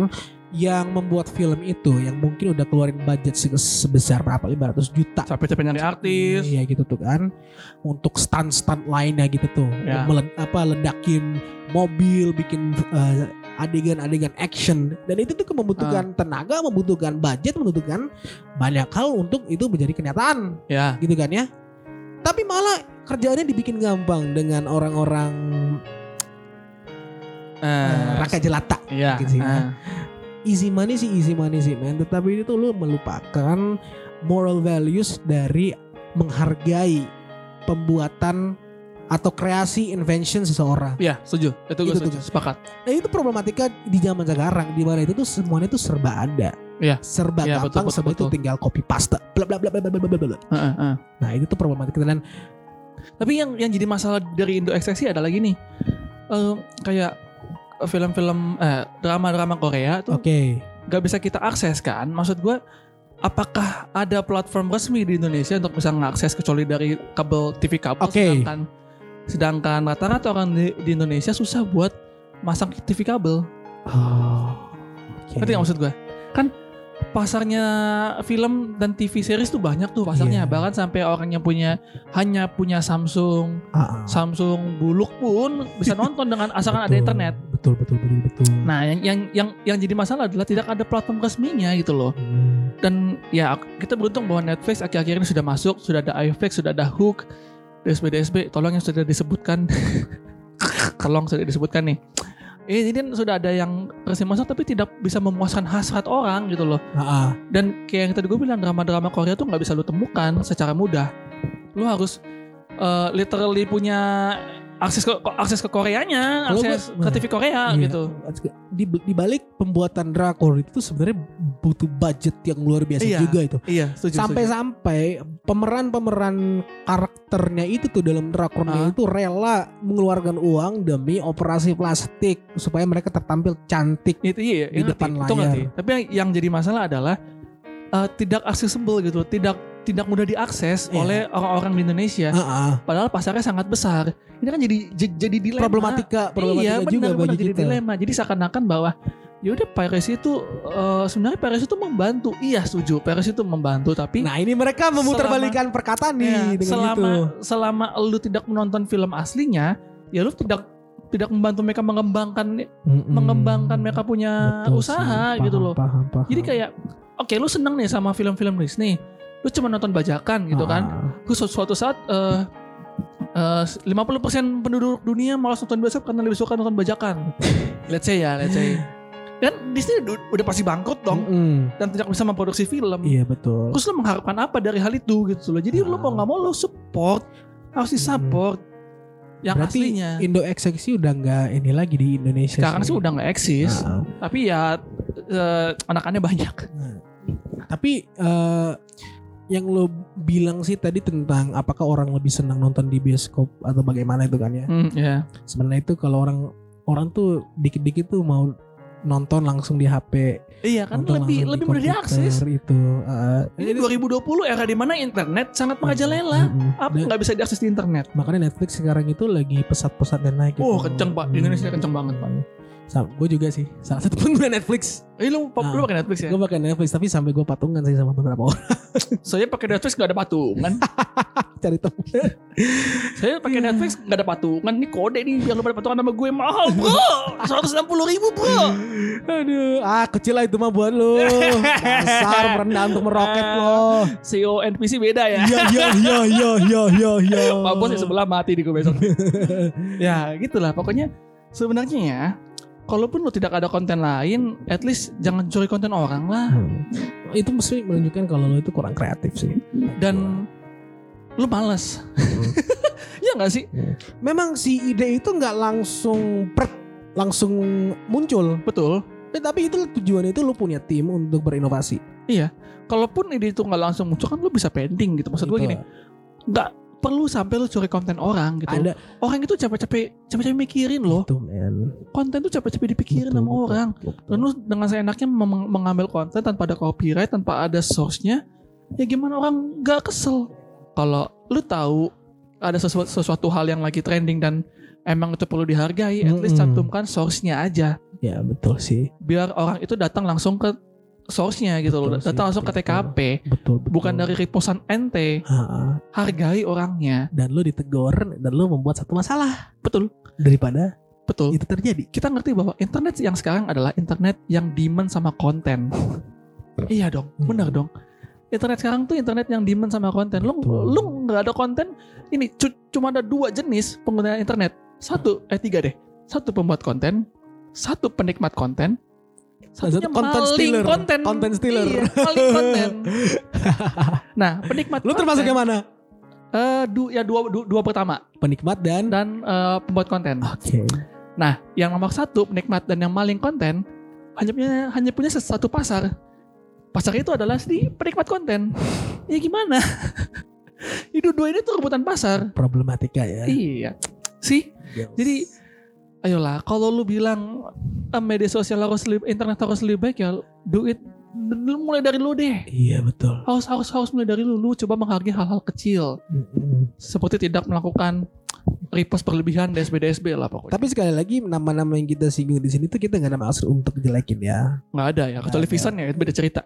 yang membuat film itu yang mungkin udah keluarin budget se- sebesar berapa 500 juta Capek-capek nyari artis. Iya gitu tuh kan. Untuk stunt-stunt lainnya gitu tuh. Ya. Melen- apa ledakin mobil, bikin eh, adegan-adegan action dan itu tuh membutuhkan tenaga, membutuhkan budget, membutuhkan banyak hal untuk itu menjadi kenyataan Ya. gitu kan ya. Tapi malah kerjaannya dibikin gampang dengan orang-orang Eh, Nah, eh, rakyat jelata Iya. gitu sih. eh. easy money sih easy money sih men tetapi itu lu melupakan moral values dari menghargai pembuatan atau kreasi invention seseorang. Iya, setuju. Itu gue Itu setuju. tuh. Sepakat. Nah, itu problematika di zaman sekarang di mana itu tuh semuanya tuh serba ada. Iya. Serba Iya, betul, gampang, betul, serba itu betul. tinggal copy paste. Bla bla bla bla bla bla bla, bla. Heeh, heeh. Nah, itu tuh problematika dan Tapi yang yang jadi masalah dari Indo XXI adalah gini. Eh, kayak film-film eh, drama-drama Korea tuh oke. gak bisa kita akses kan. Maksud gue apakah ada platform resmi di Indonesia untuk bisa mengakses kecuali dari kabel TV kabel Oke. sedangkan sedangkan rata-rata orang di, di Indonesia susah buat masang TV kabel. Oh. oke. Ngerti nggak maksud gue? Kan pasarnya film dan TV series tuh banyak tuh pasarnya. Iya. Bahkan sampai orang yang punya hanya punya Samsung, Ah, ah. Samsung buluk pun bisa nonton dengan asalkan ada Betul, internet. Betul betul betul betul. Nah, yang yang yang yang jadi masalah adalah tidak ada platform resminya gitu loh. Hmm. Dan ya kita beruntung bahwa Netflix akhir-akhir ini sudah masuk, sudah ada iFlix, sudah ada Hook, DSB DSB. Tolong yang sudah disebutkan, tolong sudah disebutkan nih. Eh, jadi sudah ada yang resmi masuk tapi tidak bisa memuaskan hasrat orang gitu loh. Ah, ah. Dan kayak yang tadi gue bilang drama-drama Korea tuh nggak bisa lu temukan secara mudah. Lu harus eh, literally punya akses ke akses ke Koreanya, Kalau akses gue- ke TV Korea Oh, Iya. gitu. Di, di balik pembuatan drakor itu sebenarnya butuh budget yang luar biasa Iya. juga itu. Iya, setuju. Sampai-sampai pemeran-pemeran karakternya itu tuh dalam Ah. drakornya itu rela mengeluarkan uang demi operasi plastik supaya mereka tertampil cantik. itu iya di ngerti, depan itu layar. ngerti. Tapi yang, yang jadi masalah adalah eh, tidak accessible gitu, tidak tidak mudah diakses Iya. oleh orang-orang di Indonesia. Ah, ah. Padahal pasarnya sangat besar. Ini kan jadi j- jadi dilema. Problematika, problematika iya, benar, juga benar, bagi jadi kita. dilema. Jadi seakan-akan bahwa ya udah piracy itu eh, sebenarnya piracy itu membantu. Iya, setuju. Piracy itu membantu tapi Nah ini mereka memutarbalikan perkataan ya, nih dengan gitu. selama itu. selama lu tidak menonton film aslinya, ya lu tidak tidak membantu mereka mengembangkan Mm-mm. mengembangkan mereka punya Hmm, Betul sih, usaha paham, gitu loh. Paham, paham. Jadi kayak oke lu seneng nih sama film-film Disney. Lu cuma nonton bajakan gitu kan. Ah, Terus suatu- suatu saat eh eh, 50% penduduk dunia malas nonton bioskop karena lebih suka nonton bajakan. let's say ya, let's say. Kan Disney du- udah pasti bangkrut dong mm-mm. dan tidak bisa memproduksi film. Iya betul. Terus lo mengharapkan apa dari hal itu gitu loh. Jadi lo Ah. mau nggak mau lo support harus disupport yang Berarti aslinya. iya Indo XXI udah nggak ini lagi di Indonesia. Sekarang sih udah nggak eksis, Ah, ah. tapi ya eh, anak-anaknya banyak. Tapi eh, yang lo bilang sih tadi tentang apakah orang lebih senang nonton di bioskop atau bagaimana itu kan ya? Hmm, ya. Sebenarnya itu kalau orang orang tuh dikit-dikit tuh mau nonton langsung di HP, Iya kan nonton lebih langsung lebih di mudah komputer diakses. Iya, itu. eh, Ini jadi- Iya. 2020 era di mana internet sangat merajalela. Mm-mm. Apa Dan- nggak bisa diakses di internet? makanya Netflix sekarang itu lagi pesat-pesatnya naik. gitu. Hmm. Oh, kenceng, Pak. Di Indonesia kenceng banget, Pak. gue juga sih. Salah satu pun gue Netflix. Eh lu, Nah. lu pakai Netflix ya? Gue pakai Netflix tapi sampai gue patungan sih sama beberapa orang Saya pakai Netflix nggak ada patungan. cari teman. Saya pakai Netflix nggak ada patungan. Ini kode nih biar lu pada patungan sama gue mahal, bro. 160 ribu, bro. Aduh, ah kecil lah itu mah buat lo. Dasar merendah untuk meroket lo. CEO NPC beda ya. Iya iya iya iya iya iya. Ya. Pak bos di sebelah mati di gue besok. ya gitulah pokoknya sebenarnya ya kalaupun lu tidak ada konten lain at least jangan curi konten orang lah Itu mesti menunjukkan kalau lo itu kurang kreatif sih. dan lu males ya nggak sih Memang si ide itu nggak langsung pret, langsung muncul. betul Tetapi itu tujuan itu lo punya tim untuk berinovasi. kalaupun ide itu nggak langsung muncul kan lu bisa pending gitu maksud gue Gitu. gini nggak perlu sampai lu curi konten orang gitu Ada orang itu capek-capek capek-capek mikirin loh itu men. konten tuh capek-capek dipikirin Betul, sama betul, orang betul. Dan lu dengan seenaknya mem- mengambil konten tanpa ada copyright, tanpa ada source-nya, ya gimana orang nggak kesel? Kalau lu tahu ada sesuatu, sesuatu hal yang lagi trending dan emang itu perlu dihargai, at least Mm-mm. cantumkan source-nya aja. Ya betul sih. Biar orang itu datang langsung ke source-nya gitu loh, Betul sih, datang langsung ke betul, TKP. Betul. betul. Bukan dari reposan ente, Ha-ha. hargai orangnya. dan lo ditegur dan lo membuat satu masalah Betul, daripada betul. itu terjadi. Kita ngerti bahwa internet yang sekarang adalah internet yang demand sama konten. iya dong, Hmm. benar dong. internet sekarang tuh internet yang demand sama konten. Lu Betul. lu nggak ada konten ini cu- cuma ada dua jenis penggunaan internet. Satu eh tiga deh. Satu pembuat konten, satu penikmat konten, Satunya Content maling stealer. Konten. Content stealer. Iya, maling konten. nah, penikmat Lu termasuk yang konten, mana? eh, du- ya dua, du- dua pertama Penikmat dan dan eh, pembuat konten. Oke. Nah, yang nomor satu penikmat dan yang maling konten hanya punya hanya punya satu pasar. Pasar itu adalah si penikmat konten. Ya gimana? Ini dua ini tuh rebutan pasar. Problematika ya. Iya. Sih. Jadi ayolah kalau lu bilang eh, media sosial harus lebih internet harus lebih baik ya do it Lu mulai dari lu deh. Iya betul. Harus harus harus mulai dari lu. Lu coba menghargai hal-hal kecil Mm-mm. seperti tidak melakukan repost berlebihan DSB DSB lah pokoknya. Tapi sekali lagi nama-nama yang kita singgung di sini tuh kita nggak maksud untuk jelekin ya. nggak ada ya kecuali Nggak ada. Visan ya itu beda cerita.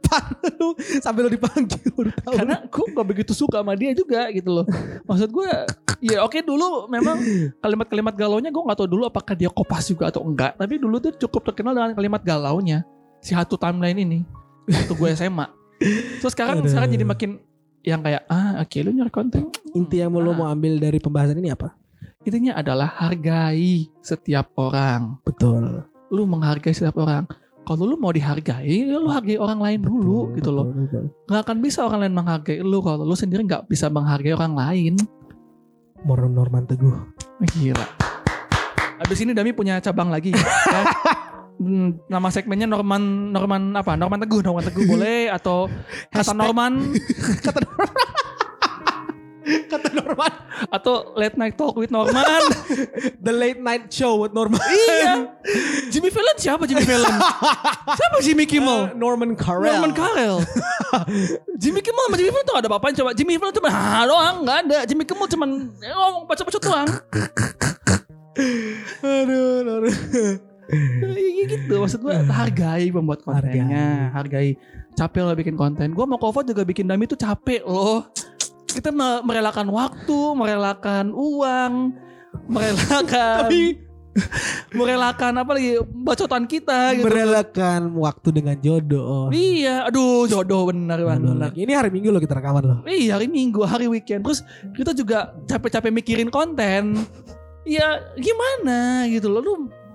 Pan lu sampai lu dipanggil udah tahu. karena gue gak begitu suka sama dia juga gitu loh maksud gue ya oke dulu memang kalimat-kalimat galaunya gue nggak tahu dulu apakah dia kopas juga atau enggak tapi dulu tuh cukup terkenal dengan kalimat galaunya si satu timeline ini waktu gue SMA terus sekarang Aduh. sekarang jadi makin yang kayak ah oke lu nyari konten Nah, Inti yang lu mau ambil dari pembahasan ini apa? intinya adalah hargai setiap orang Betul. lu menghargai setiap orang kalau lu mau dihargai ya lu hargai orang lain dulu Betul, gitu loh betul, betul. nggak akan bisa orang lain menghargai lu kalau lu sendiri nggak bisa menghargai orang lain Moral Norman Teguh. Gila. Abis ini Dami punya cabang lagi. ya. Hmm, Nama segmennya Norman Norman apa? Norman Teguh, Norman Teguh boleh atau kata Hashtag. Norman Kata Norman. Kata Norman. atau Late Night Talk with Norman. The late night show with Norman. iya. Jimmy Fallon siapa Jimmy Fallon? siapa Jimmy Uh, Kimmel? Norman Carell. Norman Karel. Jimmy Kimmel sama Jimmy Fallon tuh ada apa coba? Jimmy Fallon cuma "Ha, doang, nggak ada. Jimmy Kimmel cuma ngomong pacot-pacot doang. Aduh, Norman. Iya gitu maksud gue hargai pembuat kontennya hargai capek lo bikin konten gue mau cover juga bikin dami tuh capek loh kita me- merelakan waktu merelakan uang merelakan Tapi merelakan apa lagi bacotan kita gitu merelakan waktu dengan jodoh. iya aduh jodoh bener Aduh, bener Ini hari Minggu loh kita rekaman loh. iya hari minggu hari weekend terus kita juga capek-capek mikirin konten ya gimana gitu loh lu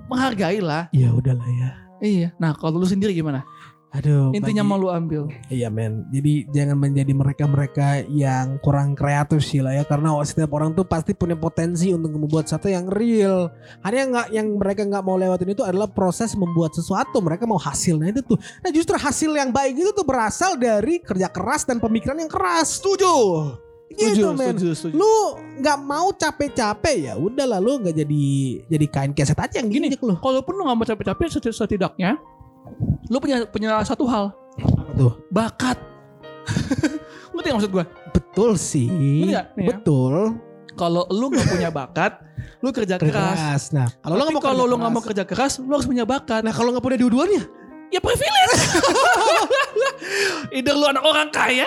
menghargai lah Ya udahlah ya. iya nah kalau lu sendiri gimana Aduh. intinya bagi- mau lu ambil Iya men. Jadi jangan menjadi mereka-mereka yang kurang kreatif sih lah ya. Karena setiap orang tuh pasti punya potensi untuk membuat sesuatu yang real. Hanya yang nggak yang mereka nggak mau lewatin itu adalah proses membuat sesuatu. Mereka mau hasilnya itu tuh. Nah justru hasil yang baik itu tuh berasal dari kerja keras dan pemikiran yang keras. Setuju. Gitu men. setuju. Lu nggak mau capek-capek ya udahlah lu nggak jadi jadi kain keset aja yang gini Gini. aja lu. kalaupun lu gak mau capek-capek seti- setidaknya lu punya punya satu hal Apa tuh? bakat ngerti gak maksud gue Betul sih. Iya, ya. iya. Betul. kalau lu gak punya bakat lu kerja keras Keras. Nah, kalau lu kalau kalau nggak mau kerja lu gak keras- mau kerja keras lu harus punya bakat Nah kalau nggak punya dua-duanya ya privilege either lu anak orang kaya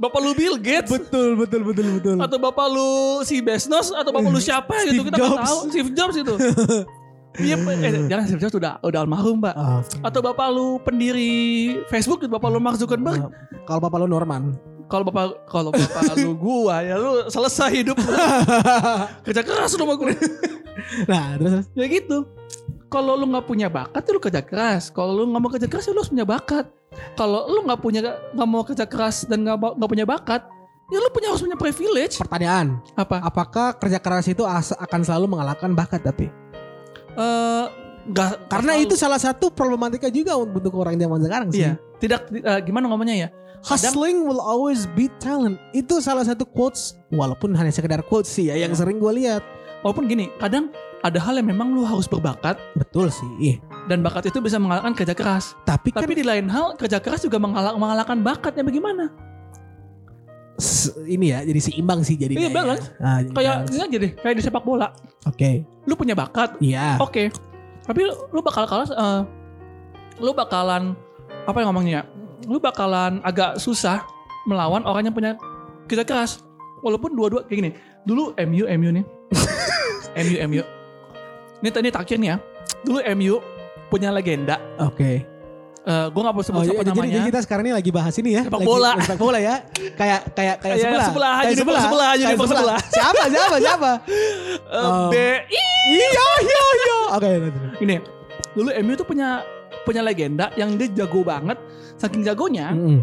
bapak lu Bill Gates Betul betul betul betul atau bapak lu si Bezos atau bapak lu siapa gitu Steve kita nggak Jobs. tahu Steve Jobs itu Iya, eh, jangan Steve Jobs udah udah almarhum, Pak. Ah, Atau bapak lu pendiri Facebook, bapak lu Mark Zuckerberg, Nah. Kalau bapak lu Norman kalau bapak kalau bapak lu gua ya lu selesai hidup lu. kerja keras lu sama gua Nah terus ya gitu kalau lu nggak punya bakat ya lu kerja keras kalau lu nggak mau kerja keras ya lu harus punya bakat kalau lu nggak punya nggak mau kerja keras dan nggak mau- nggak punya bakat ya lu punya harus punya privilege Pertanyaan apa Apakah kerja keras itu as- akan selalu mengalahkan bakat tapi Eh, nggak Karena nggak itu salah satu problematika juga Untuk orang zaman sekarang selalu- sih iya tidak eh, gimana ngomongnya ya Hustling will always beat talent Itu salah satu quotes Walaupun hanya sekedar quotes sih ya Iya. Yang sering gue lihat walaupun gini kadang ada hal yang memang lu harus berbakat Betul sih iya. dan bakat itu bisa mengalahkan kerja keras Tapi, kan tapi di lain hal kerja keras juga mengalah- mengalahkan bakatnya bagaimana s- ini ya jadi seimbang sih jadinya. Iya, ya. balance. Ah, jadi kayak balance. ini aja deh kayak di sepak bola Oke. lu punya bakat Iya. oke tapi lu bakal kalah eh, lu bakalan apa yang ngomongnya lu bakalan agak susah melawan orang yang punya kerja keras walaupun dua-dua kayak gini dulu MU MU nih MU MU ini tadi terakhir nih ya dulu MU punya legenda Oke. Eh, gua nggak mau sebut Oh, siapa jadi, jadi Oh. namanya kita sekarang ini lagi bahas ini ya. Sepak lagi- bola. Sepak bola ya. Kayak kayak kayak Kayak sebelah. sebelah, kayak uniform sebelah, kayak uniform sebelah. Siapa siapa siapa? Eh, Um, BI Iya iya iya. Oke. lanjut. ini dulu MU tuh punya punya legenda yang dia jago banget saking jagonya Mm-mm.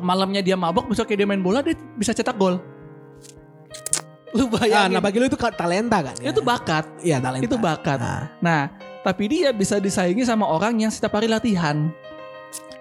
malamnya dia mabok besoknya dia main bola dia bisa cetak gol lu Ya, bayangin nah bagi lu itu ka- talenta kan? ya? Oh, iya, itu bakat Iya talenta. itu bakat Nah, Nah, tapi dia bisa disaingi sama orang yang setiap hari latihan.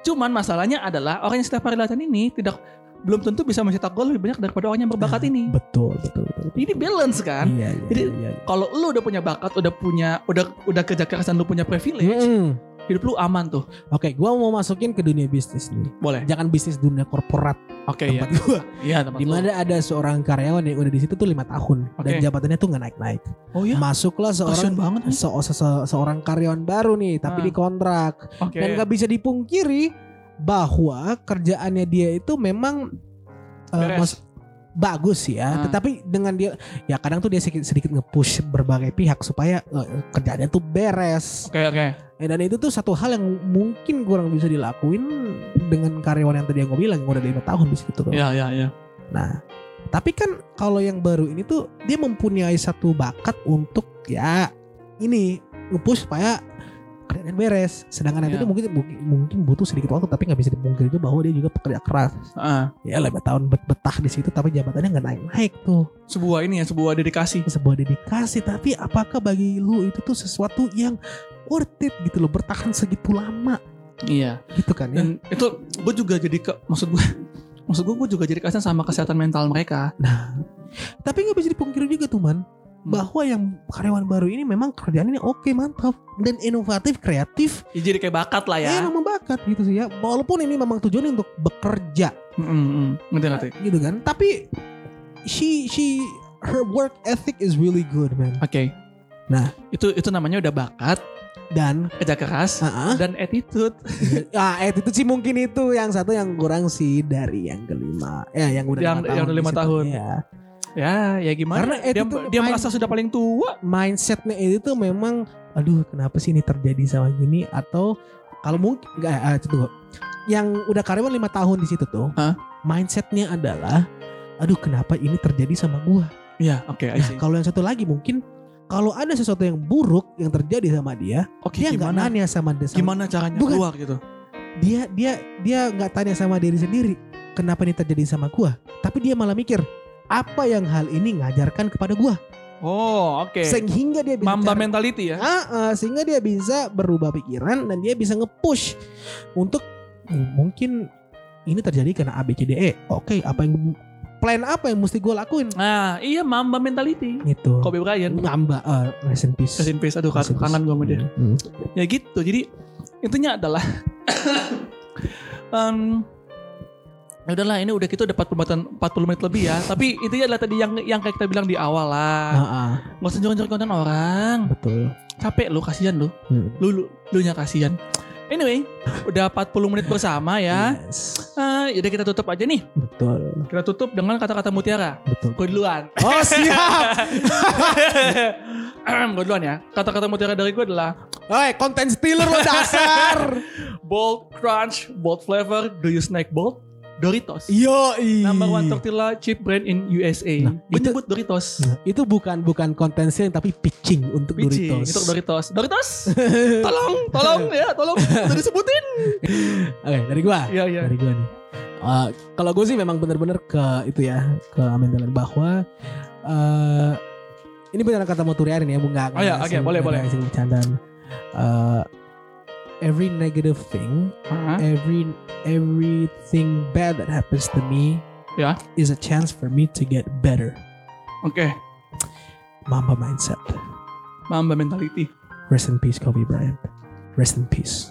Cuman masalahnya adalah orang yang setiap hari latihan ini tidak belum tentu bisa mencetak gol lebih banyak daripada orang yang Ah. berbakat ini. betul betul betul. Ini balance kan? Iya, iya, Jadi- iya. Kalau lu udah punya bakat, udah punya udah udah kerja kerasan lu punya privilege, Mm-mm. hidup lu aman tuh. Oke, gua mau masukin ke dunia bisnis nih. Boleh. Jangan bisnis dunia korporat Oke tempat gua. Iya, tempat Di lu. mana ada seorang karyawan yang udah di situ tuh lima tahun dan Oke. jabatannya tuh nggak naik-naik. Oh iya. Masuklah Kasian seorang banget. nih. se- se- se- seorang karyawan baru nih, tapi Ah. dikontrak. Oke. Dan nggak bisa dipungkiri bahwa kerjaannya dia itu memang uh, Beres. mas- bagus ya, Ah. tetapi dengan dia ya kadang tuh dia sedikit, sedikit nge-push berbagai pihak supaya uh, kerjaannya tuh beres. Oke, oke. Eh, dan itu tuh satu hal yang mungkin kurang bisa dilakuin dengan karyawan yang tadi yang gue bilang yang udah lima tahun di situ. Iya, iya, iya. Nah, tapi kan kalau yang baru ini tuh dia mempunyai satu bakat untuk ya ini nge-push supaya kerjaan beres. Sedangkan nanti Iya. itu mungkin mungkin butuh sedikit waktu tapi nggak bisa dipungkiri juga bahwa dia juga pekerja keras. Ah, Ya lima tahun bet- betah di situ tapi jabatannya nggak naik-naik tuh. sebuah ini ya, sebuah dedikasi. Sebuah dedikasi tapi apakah bagi lu itu tuh sesuatu yang worth it gitu loh bertahan segitu lama Iya. gitu kan ya. Dan itu gue juga jadi ke maksud gue maksud gue gue juga jadi kasihan sama kesehatan mental mereka. Nah, tapi nggak bisa dipungkiri juga tuh Hmm. man bahwa yang karyawan baru ini memang kerjaannya oke mantap dan inovatif kreatif Ya, jadi kayak bakat lah ya ya. memang bakat gitu sih ya walaupun ini memang tujuannya untuk bekerja Mm-mm, Ngerti ngerti. gitu kan tapi she she her work ethic is really good man Oke. Nah. itu itu namanya udah bakat, dan kerja keras ah dan attitude. ah, eh, itu sih mungkin itu yang satu yang kurang sih dari yang kelima ya yang udah Yang- yang udah di lima situ. tahun. ya Ya, ya gimana? Karena dia attitude dia main- merasa sudah paling tua. mindsetnya itu tuh memang aduh kenapa sih ini terjadi sama gini atau kalau mungkin nggak eh, itu tuh. yang udah karyawan lima tahun di situ tuh Hah? mindsetnya adalah aduh kenapa ini terjadi sama gua Ya, oke, I nah see. kalau yang satu lagi mungkin kalau ada sesuatu yang buruk yang terjadi sama dia Oke, dia nggak gimana? nanya sama dia sama- Gimana caranya Bukan. keluar gitu? dia dia dia nggak tanya sama diri sendiri kenapa ini terjadi sama gua tapi dia malah mikir apa yang hal ini ngajarkan kepada gua Oh, oke. sehingga dia bisa Mamba cara- mentality ya. Ah, ah, sehingga dia bisa berubah pikiran dan dia bisa nge-push untuk "Hmm, mungkin ini terjadi karena ABCDE. E. Oke, apa yang plan apa yang mesti gue lakuin? Nah, iya Mamba mentality. Gitu. Kobe Bryant. Ngamba eh, rest in peace. Rest in peace. Aduh, Rest in peace. kangen gue sama dia. Hmm. ya gitu jadi intinya adalah em, ya udahlah ini udah kita udah 40 menit, 40 menit lebih ya tapi intinya adalah tadi yang yang kayak kita bilang di awal lah Ah, ah, nggak usah nyuruh konten orang betul. capek lu kasihan lu Hmm. lu lu, lu nya kasihan anyway udah 40 menit bersama ya Yes. Eh, yaudah kita tutup aja nih Betul. kita tutup dengan kata-kata mutiara Betul. gue duluan Oh, siap. gue duluan ya kata-kata mutiara dari gue adalah Oi, konten stealer lo dasar. Bold Crunch, Bold Flavor, Do You Snack Bold, Doritos. Yo, Number one tortilla chip brand in USA. Nah, Gue itu- nyebut Doritos. Nah, itu bukan bukan konten stealing tapi pitching untuk Pici, Doritos. Itu Doritos. Doritos, tolong, tolong ya, tolong. Udah disebutin. Oke, dari gua. Iya, iya. dari gue nih. Eh, kalau gue sih memang bener-bener ke itu ya ke Amendelen bahwa eh ini benar kata Moturiarin ya, bu nggak Oh iya, nggak oke, asing- boleh, nggak boleh. asing bercandaan. Eh, every negative thing, Hah? every everything bad that happens to me, Ya. is a chance for me to get better. Oke, Mamba mindset. Mamba mentality. Rest in peace Kobe Bryant. Rest in peace.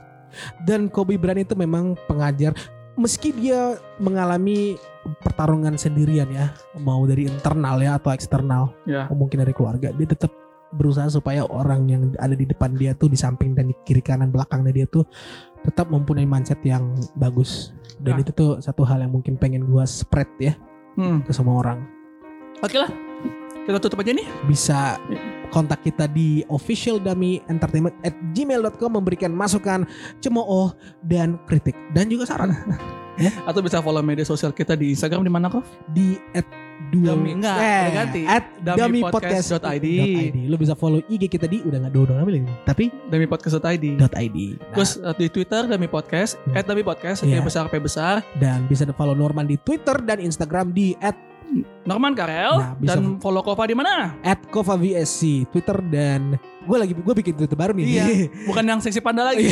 Dan Kobe Bryant itu memang pengajar meski dia mengalami pertarungan sendirian ya, mau dari internal ya atau eksternal, Ya. mungkin dari keluarga, dia tetap berusaha supaya orang yang ada di depan dia tuh di samping dan di kiri kanan belakangnya dia tuh tetap mempunyai mindset yang bagus. Dan Nah. itu tuh satu hal yang mungkin pengen gua spread ya Hmm. ke semua orang. Oke lah, kita tutup aja nih. bisa kontak kita di officialdummyentertainment at gmail.com memberikan masukan, cemooh, dan kritik. Dan juga saran. Atau bisa follow media sosial kita di Instagram di mana kok? di at dua eh, Dummy- enggak, udah ganti. at dummypodcast.id. dummypodcast.id. lu bisa follow IG kita di udah nggak dodo lagi tapi Demi podcast.id. dot .id Nah, Terus eh, di Twitter Demi Podcast, Hmm. at Demi Podcast, Iya. yeah. besar P besar. dan bisa follow Norman di Twitter dan Instagram di at Norman Karel Nah, bisa- dan follow Kova di mana? at Kova VSC Twitter dan gue lagi gue bikin Twitter baru nih Iya. Bukan yang seksi panda Iya. lagi.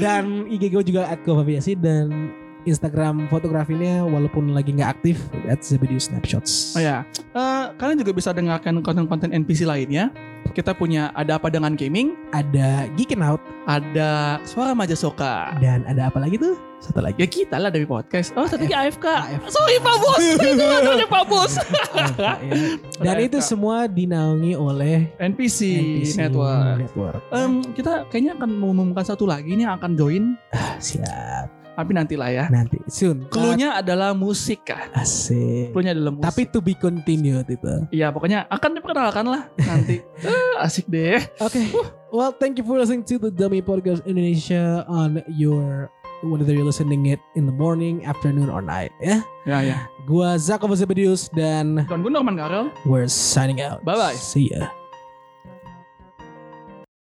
dan IG gue juga at Kova VSC dan Instagram fotografinya walaupun lagi nggak aktif at Zebedew Snapshots Oh ya, Eh, kalian juga bisa dengarkan konten-konten NPC lainnya. Kita punya ada apa dengan gaming, ada Geekin Out ada suara Majasoka. dan ada apa lagi tuh satu lagi Ya kita lah dari podcast. Oh, tapi AFK. AFK. Sorry Pak Bos, itu namanya Pak Bos. iya. dan Ada itu Eka. semua dinaungi oleh NPC, NPC Network. Network. Em, kita kayaknya akan mengumumkan satu lagi nih yang akan join, Ah, siap. tapi nantilah ya. Nanti soon. Cluenya adalah musik kah? asik. Cluenya adalah musik. Iya. Tapi to be continued itu. Iya pokoknya akan diperkenalkan lah nanti. Eh, asik deh. Oke. Well, thank you for listening to the Dummy Podcast Indonesia on your whether you're listening it in the morning, afternoon, or night. Ya. Ya ya. Gua Zako Zebedius dan Tuan gue Norman Karel. we're signing out. Bye-bye. See ya.